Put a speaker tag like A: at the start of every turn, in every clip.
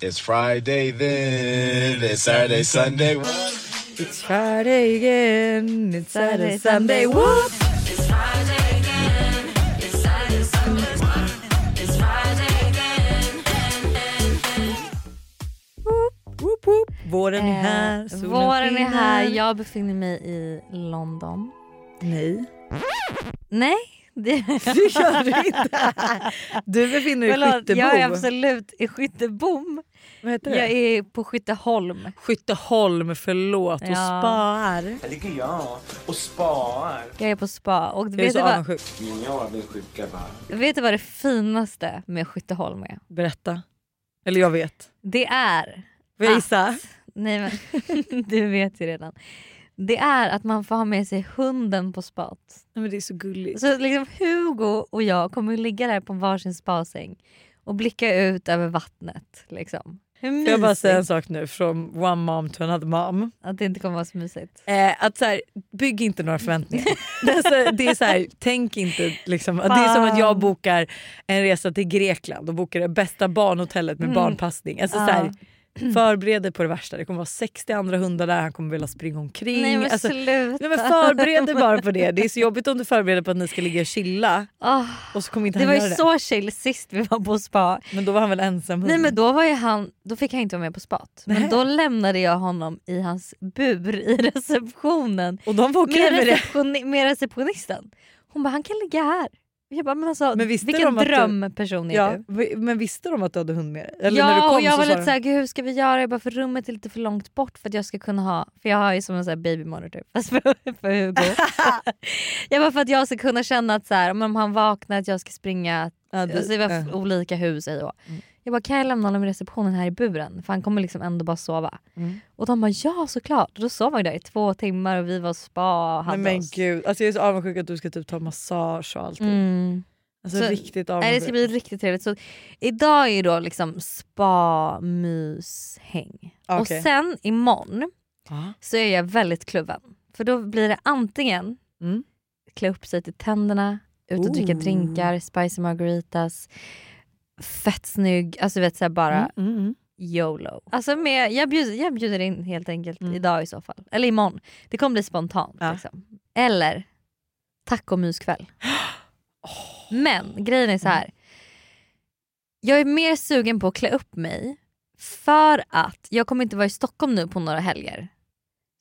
A: It's Friday then, it's Saturday, Sunday.
B: It's Friday again, it's Saturday, Sunday, whoop! Whoop, whoop, whoop. Våren är här,
C: Eh,
B: solen
C: Våren är
B: skiner.
C: här. Jag befinner mig i London.
B: Nej,
C: Nej, det...
B: det gör du inte. Du befinner dig i
C: Förlåt,
B: Skyttebo.
C: jag är absolut i Skyttebom.
B: Vad heter det?
C: Jag är på Skytteholm.
B: Skytteholm, förlåt, och
C: Ja.
B: spar.
D: Här ligger jag och spar.
C: Jag är på spa. Och
B: Jag är
C: vet,
B: så
C: du vad,
B: avundsjuk.
D: Mina avundsjuka barn.
C: vet du vad det finaste med Skytteholm är?
B: Berätta. Eller jag vet.
C: Det är...
B: Får jag
C: Ah.
B: gissa?
C: Nej men, du vet ju redan. Det är att man får ha med sig hunden på spat.
B: Nej, men det är så gulligt.
C: Så liksom Hugo och jag kommer att ligga där på varsin spasäng och blicka ut över vattnet. Liksom. Hur
B: Får jag bara
C: mysigt?
B: säga en sak nu från one mom to another mom.
C: Att det inte kommer vara så mysigt.
B: Eh, att så här, bygg inte några förväntningar. det är så, det är så här, tänk inte liksom. att Det är som att jag
C: Fan.
B: bokar en resa till Grekland och bokar det bästa barnhotellet med
C: Mm. Ah.
B: barnpassning. Alltså, så här,
C: Ja.
B: förbered dig på det värsta. Det kommer vara 60 andra hundar där, han kommer vilja springa omkring.
C: Nej men
B: alltså,
C: sluta.
B: nej, men förbered dig bara på det. Det är så jobbigt om du förbereder på att ni ska ligga och chilla
C: Åh,
B: och så kommer inte
C: Ah, det
B: han
C: var
B: göra
C: ju
B: det.
C: så chill sist vi var på spa.
B: Men då var han väl ensam hund?
C: Nej men då var ju han, då fick han inte vara med på spat.
B: Nej.
C: Men då lämnade jag honom i hans bur i receptionen.
B: Och de var okej
C: Med,
B: med det.
C: receptioni- med receptionisten. Hon bara han kan ligga här. Jag bara men alltså
B: Men visste
C: vilken
B: de att du-
C: drömperson är
B: Ja,
C: du?
B: vi- men visste de att du hade hund med dig? Eller
C: ja,
B: när du kom
C: och jag
B: så
C: var
B: sa
C: lite
B: de-
C: såhär, "Gud, hur ska vi göra? Jag bara, för rummet är lite för långt bort för att jag ska kunna ha, för jag har ju som en sån här babymonitor fast för, för Hugo. jag bara, för att jag ska kunna känna att så här, om han vaknar att jag ska springa,
B: Ja, du-
C: alltså, det var
B: ja. Mm.
C: olika hus hej och Jag bara, kan jag lämna honom i receptionen här i buren? För han kommer liksom ändå bara sova.
B: Mm.
C: Och de bara, ja såklart. Och då sov han ju där i två timmar och vi var och spa och hade
B: Nej, men
C: oss.
B: gud, alltså jag är så avundsjuk att du ska typ ta massage och allt.
C: Mm.
B: Alltså
C: Så-
B: riktigt
C: Nej,
B: avundsjuk.
C: det ska bli riktigt trevligt. Så, idag är ju då liksom spa, mys, häng. Och
B: Ah, Okej.
C: sen imorgon
B: Ja.
C: så är jag väldigt kluven. För då blir det antingen
B: Mm.
C: klä upp sig till tänderna, ut och dricka
B: Ooh.
C: drinkar, spicy margaritas, fett snygg, alltså du vet såhär bara
B: Mm, mm, mm.
C: YOLO. Alltså med, jag, bjuder, jag bjuder in helt enkelt
B: Mm.
C: idag i så fall. Eller imorgon. Det kommer bli spontant.
B: Ja.
C: Liksom. Eller tacomuskväll. Men grejen är så här. Jag är mer sugen på att klä upp mig för att jag kommer inte vara i Stockholm nu på några helger.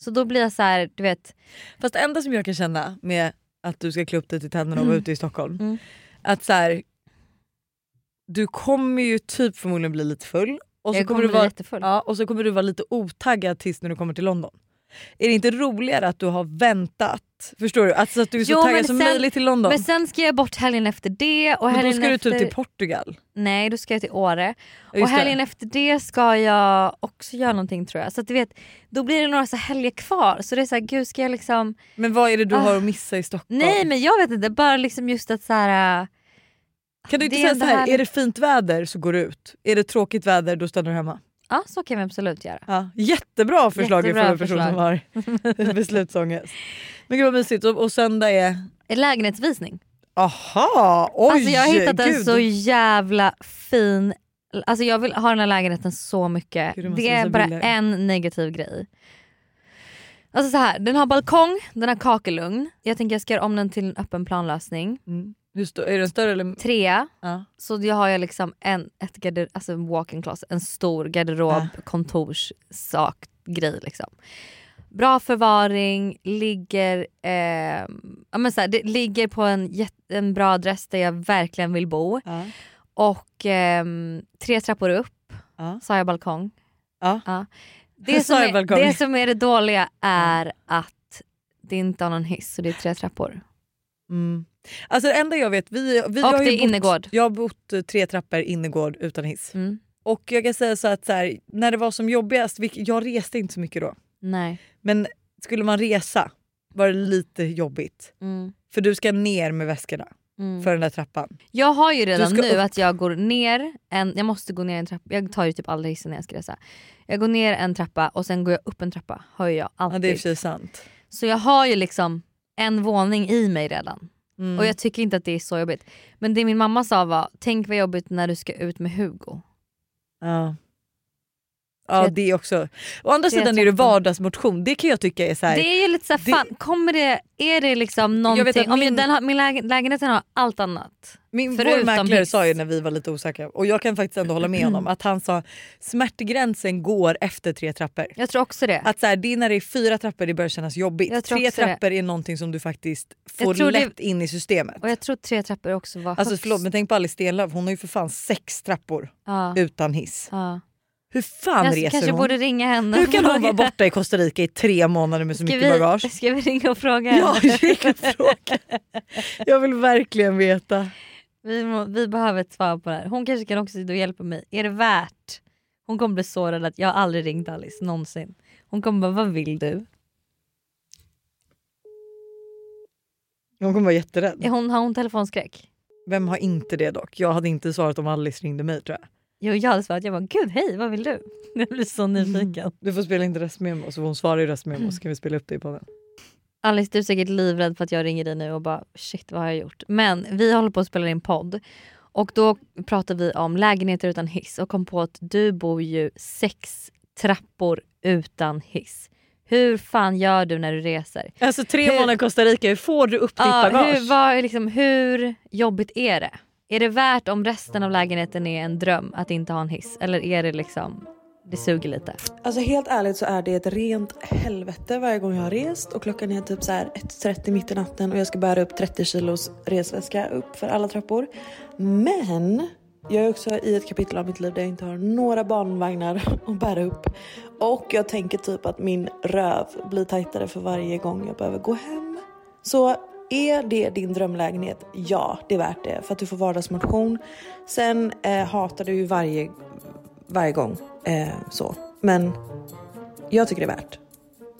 C: Så då blir jag så här, du vet.
B: Fast det enda som jag kan känna med att du ska klä upp dig till tänderna och vara
C: Mm.
B: ute i Stockholm.
C: Mm.
B: Att så här, du kommer ju typ förmodligen bli lite full och så
C: jag kommer
B: kommer, du
C: bli
B: vara,
C: jättefull.
B: ja, och så kommer du vara lite otaggad tills när du kommer till London. Är det inte roligare att du har väntat? Förstår du? Alltså att du är så
C: Jo, men
B: taggad som
C: sen-
B: möjligt till London.
C: Men sen ska jag bort helgen efter det. Och
B: Men
C: helgen
B: då ska du
C: efter...
B: typ till Portugal.
C: Nej, då ska jag till Åre.
B: Ja, just
C: och
B: det.
C: helgen efter det ska jag också göra någonting tror jag. Så att du vet, då blir det några så här helger kvar. Så det är så här, gud ska jag liksom...
B: Men vad är det du
C: Ah.
B: har att missa i Stockholm?
C: Nej men jag vet inte, bara liksom just att så här... äh,
B: Kan du inte
C: Det är
B: säga så
C: ändå
B: här,
C: härligt.
B: är det fint väder så går du ut. Är det tråkigt väder då stannar du hemma.
C: Ja så kan vi absolut göra.
B: Ja. Jättebra förslag
C: Jättebra
B: från en person som har beslutsångest. Men gud vad mysigt. Och, och söndag är...
C: Lägenhetsvisning.
B: Aha! Oj!
C: alltså jag har hittat en
B: gud.
C: så jävla fin... Alltså jag vill ha den här lägenheten så mycket.
B: Gud, du måste
C: det är
B: visa
C: bara
B: bilder.
C: en negativ grej. Alltså så här, den har balkong, den har kakelugn. Jag tänker jag ska göra om den till en öppen planlösning.
B: Mm. Hur stor- är den större eller...
C: Trea,
B: Ja.
C: Så jag har jag liksom en, ett garder, alltså en walk-in closet, en stor garderob, kontorssak, grej liksom. Bra förvaring, ligger, eh, ja, men så här, det ligger på en, jätte- en bra adress där jag verkligen vill bo.
B: Ja.
C: Och ehm, tre trappor upp
B: Ja.
C: sa jag balkong.
B: Ja.
C: Det,
B: Sa
C: som
B: jag
C: är,
B: balkong.
C: det som är det dåliga är att det inte har någon hiss så det är tre trappor.
B: Mm. Alltså det enda jag vet, vi, vi
C: Och
B: har ju
C: det är
B: bott,
C: innergård.
B: Jag har bott eh, tre trappor innergård utan hiss.
C: Mm.
B: Och jag kan säga så att så här, när det var som jobbigast, vilk- jag reste inte så mycket då.
C: Nej.
B: Men skulle man resa var det lite jobbigt.
C: Mm.
B: För du ska ner med väskorna
C: Mm.
B: för den där trappan.
C: Jag har ju
B: Du
C: redan
B: ska
C: nu
B: upp.
C: att jag går ner en, jag måste gå ner en trappa, jag tar ju typ aldrig hissen när jag ska resa. Jag går ner en trappa och sen går jag upp en trappa, har ju jag
B: Ja,
C: alltid.
B: det är i och för sig sant.
C: så jag har ju liksom en våning i mig redan.
B: Mm.
C: Och jag tycker inte att det är så jobbigt. Men det min mamma sa var, tänk vad jobbigt när du ska ut med Hugo.
B: ja. Ja det är också. Å andra sidan är det vardagsmotion, det kan jag tycka är så här.
C: Det är ju lite såhär,
B: Det-
C: fan, kommer det, är det liksom någonting,
B: att min-
C: om min, den har, min lägen, lägenheten har allt annat.
B: Min, vår
C: Förutom
B: mäklare
C: hiss.
B: sa ju när vi var lite osäkra, och jag kan faktiskt ändå hålla med honom, att han sa smärtgränsen går efter tre trappor.
C: Jag tror också det.
B: Att så här, det är när det är fyra trappor det börjar kännas jobbigt.
C: Jag tror
B: Tre
C: också det.
B: trappor är någonting som du faktiskt
C: Jag
B: får
C: tror det-
B: lätt in i systemet.
C: Och jag tror tre trappor också var
B: Alltså
C: högst.
B: förlåt men tänk på Alice Stenlöf, hon har ju för fan sex trappor
C: Ja,
B: utan hiss.
C: ja.
B: Hur fan
C: Jag
B: reser
C: kanske
B: hon?
C: borde ringa henne.
B: Hur
C: och
B: kan hon
C: fråga.
B: vara borta i Costa Rica i tre månader med så
C: Ska
B: mycket
C: vi,
B: bagage?
C: Ska vi ringa och fråga
B: Ja,
C: henne?
B: det är en fråga. Jag vill verkligen veta.
C: Vi, må, vi behöver ett svar på det här. Hon kanske kan också sitta och hjälpa mig. Är det värt? Hon kommer bli sårad att jag har aldrig ringt Alice någonsin. Hon kommer bara, vad vill du?
B: Hon kommer vara jätterädd.
C: Är hon, har hon telefonskräck?
B: Vem har inte det dock? Jag hade inte svarat om Alice ringde mig tror jag.
C: Jo, jag hade svarat, jag bara, gud hej, vad vill du? Jag blir så nyfiken.
B: Du får spela in röstmemo så får hon svarar i röstmemo så kan vi spela upp det i podden.
C: Alice, du är säkert livrädd för att jag ringer dig nu och bara shit vad har jag gjort? Men vi håller på att spela in podd och då pratar vi om lägenheter utan hiss och kom på att du bor ju sex trappor utan hiss. Hur fan gör du när du reser?
B: Alltså tre
C: Hur-
B: månader i Costa Rica, hur får du upp ditt
C: Ja,
B: bagage?
C: hur, vad, liksom, hur jobbigt är det? Är det värt om resten av lägenheten är en dröm att inte ha en hiss? Eller är det liksom, det suger lite?
E: Alltså helt ärligt så är det ett rent helvete varje gång jag har rest och klockan är typ så här 1.30 mitt i natten och jag ska bära upp 30 kilos resväska upp för alla trappor. Men jag är också i ett kapitel av mitt liv där jag inte har några barnvagnar att bära upp och jag tänker typ att min röv blir tajtare för varje gång jag behöver gå hem. Så är det din drömlägenhet? Ja, det är värt det för att du får vardagsmotion. Sen eh, hatar du ju varje varje gång. Eh, så. Men jag tycker det är värt.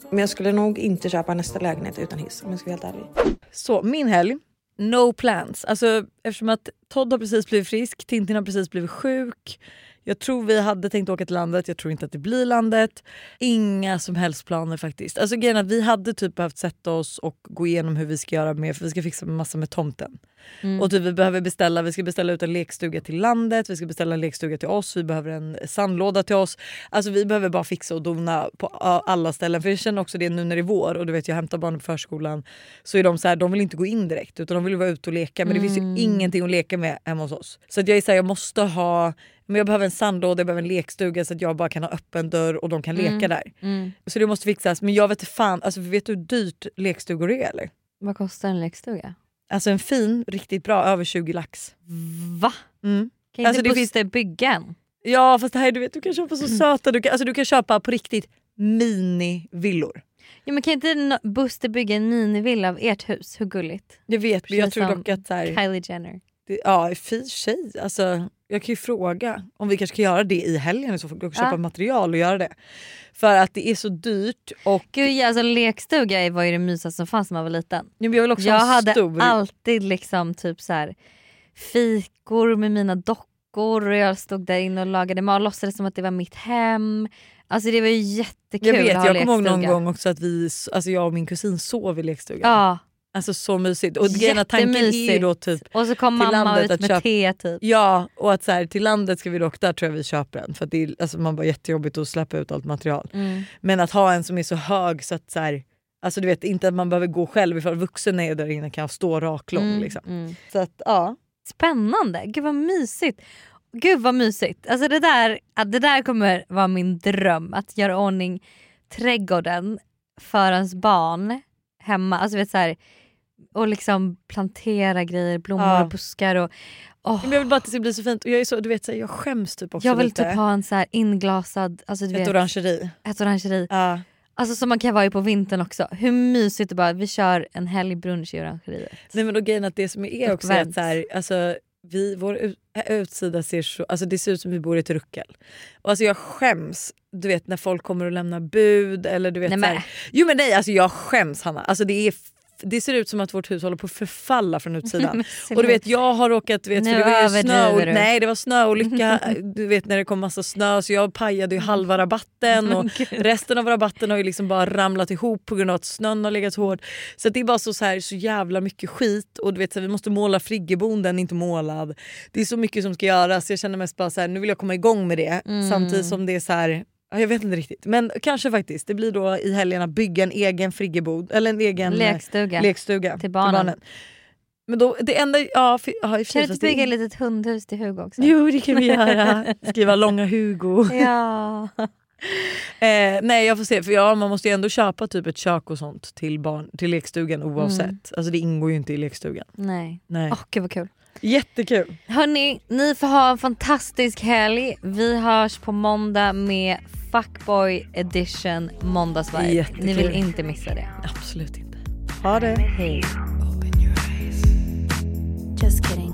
E: Men jag skulle nog inte köpa nästa lägenhet utan hiss om jag ska vara helt ärlig.
B: Så min helg, no plans. Alltså, eftersom att Todd har precis blivit frisk, Tintin har precis blivit sjuk. Jag tror vi hade tänkt åka till landet, jag tror inte att det blir landet. Inga som helst planer faktiskt. Alltså grejen är att vi hade typ behövt sätta oss och gå igenom hur vi ska göra med, för vi ska fixa massa med tomten. Och typ vi behöver beställa, vi ska beställa ut en lekstuga till landet, vi ska beställa en lekstuga till oss, vi behöver en sandlåda till oss. Alltså vi behöver bara fixa och dona på a- alla ställen. För jag känner också det nu när det är vår och du vet jag hämtar barnen på förskolan så är de så här, de vill inte gå in direkt utan de vill vara ute och leka men det finns ju ingenting att leka med hemma hos oss. Så att jag är så här, jag måste ha, men jag behöver en sandlåda, jag behöver en lekstuga så att jag bara kan ha öppen dörr och de kan leka där. Så det måste fixas men jag vet inte fan, alltså vet du hur dyrt lekstugor är eller?
C: Vad kostar en lekstuga?
B: Alltså en fin, riktigt bra, över 20 lax.
C: Va?
B: Mm.
C: Kan inte
B: Alltså, det
C: Buster
B: finns-
C: bygga en?
B: Ja fast det här, du vet du kan köpa
C: Mm.
B: så söta, du kan, alltså, du kan köpa på riktigt minivillor.
C: Ja, men kan inte n- Buster bygga en minivilla av ert hus? Hur gulligt?
B: Jag vet men jag
C: Precis
B: tror
C: som
B: dock att så här,
C: Kylie Jenner.
B: Det, ja, i och för sig. Alltså, jag kan ju fråga om vi kanske kan göra det i helgen i så får jag köpa
C: Ja.
B: material och göra det. För att det är så dyrt och
C: Gud, ja, alltså, lekstuga var ju det mysigaste som fanns när man var liten.
B: jag vill också
C: Jag
B: ha en
C: hade
B: stor.
C: alltid liksom typ så här, fikor med mina dockor och jag stod där inne och lagade mat och låtsades som att det var mitt hem. Alltså det var ju jättekul
B: jag vet,
C: att ha
B: jag kommer ihåg
C: lekstuga.
B: någon gång också att vi, alltså jag och min kusin sov i lekstugan.
C: Ja,
B: Alltså så mysigt. Och grejen är att tanken är ju
C: Jättemysigt.
B: då typ
C: och så kom
B: Till
C: mamma
B: landet
C: ut
B: att
C: med
B: köpa-
C: te typ.
B: Ja, och att så här, till landet ska vi dock, där tror jag vi köper en. För att det är alltså, man bara jättejobbigt att släppa ut allt material. Men att ha en som är så hög så att så här, alltså du vet inte att man behöver gå själv ifall vuxen är där inne kan jag stå raklång.
C: Mm,
B: liksom.
C: mm.
B: Så att ja.
C: Spännande, gud vad mysigt. Gud vad mysigt. Alltså det där, att det där kommer vara min dröm, att göra ordning trädgården för ens barn hemma. Alltså vet så här, och liksom plantera grejer, blommor
B: Ja.
C: och buskar. Och, åh,
B: Men jag vill bara att det ska bli så fint och jag är så, du vet så här, jag skäms typ också
C: jag vill
B: lite.
C: typ ha en så här inglasad, alltså du
B: ett
C: vet,
B: orangeri.
C: ett orangeri.
B: Ja.
C: Alltså som man kan vara i på vintern också. Hur mysigt det bara, vi kör en helgbrunch i orangeriet.
B: Nej men och grejen är att det som är också är att
C: Uppvärmt.
B: så här, alltså, vi, vår ut, utsida ser så, alltså det ser ut som vi bor i ett ruckel. Och alltså jag skäms du vet när folk kommer och lämnar bud eller du vet
C: Nej,
B: så här,
C: men.
B: Jo men nej alltså jag skäms Hanna. Alltså det är f- det ser ut som att vårt hus håller på att förfalla från utsidan. och du vet jag har råkat, du vet,
C: Nu
B: för det var ju snö och,
C: överdriver du.
B: nej det var snöolycka, du vet när det kom massa snö så jag pajade ju halva rabatten och resten av rabatten har ju liksom bara ramlat ihop på grund av att snön har legat hård. Så att det är bara så, så, här, så jävla mycket skit och du vet så här, vi måste måla friggeboden, den är inte målad.
C: Mm.
B: Det är så mycket som ska göras jag känner mest bara så här, nu vill jag komma igång med det samtidigt som det är så här Ja, Jag vet inte riktigt. Men kanske faktiskt. Det blir då i helgerna bygga en egen friggebod. Eller en egen eh,
C: Lekstuga.
B: lekstuga
C: Till barnen.
B: Men då, det enda... Ja, för, ja, i och för
C: Kan
B: sig,
C: du inte
B: fast det-
C: bygga ett litet hundhus till Hugo också?
B: Jo, det kan vi göra. Skriva långa Hugo.
C: Ja.
B: Eh, nej jag får se, för ja, man måste ju ändå köpa typ ett kök och sånt till, barn, till lekstugan oavsett.
C: Mm.
B: Alltså det ingår ju inte i lekstugan.
C: Nej.
B: Nej.
C: Åh gud vad kul.
B: Jättekul!
C: Hörni, ni får ha en fantastisk helg. Vi hörs på måndag med Fuckboy edition måndagsvibe.
B: Jättekul.
C: Ni vill inte missa det.
B: Absolut inte. Ha det!
C: Hej.
F: Just kidding.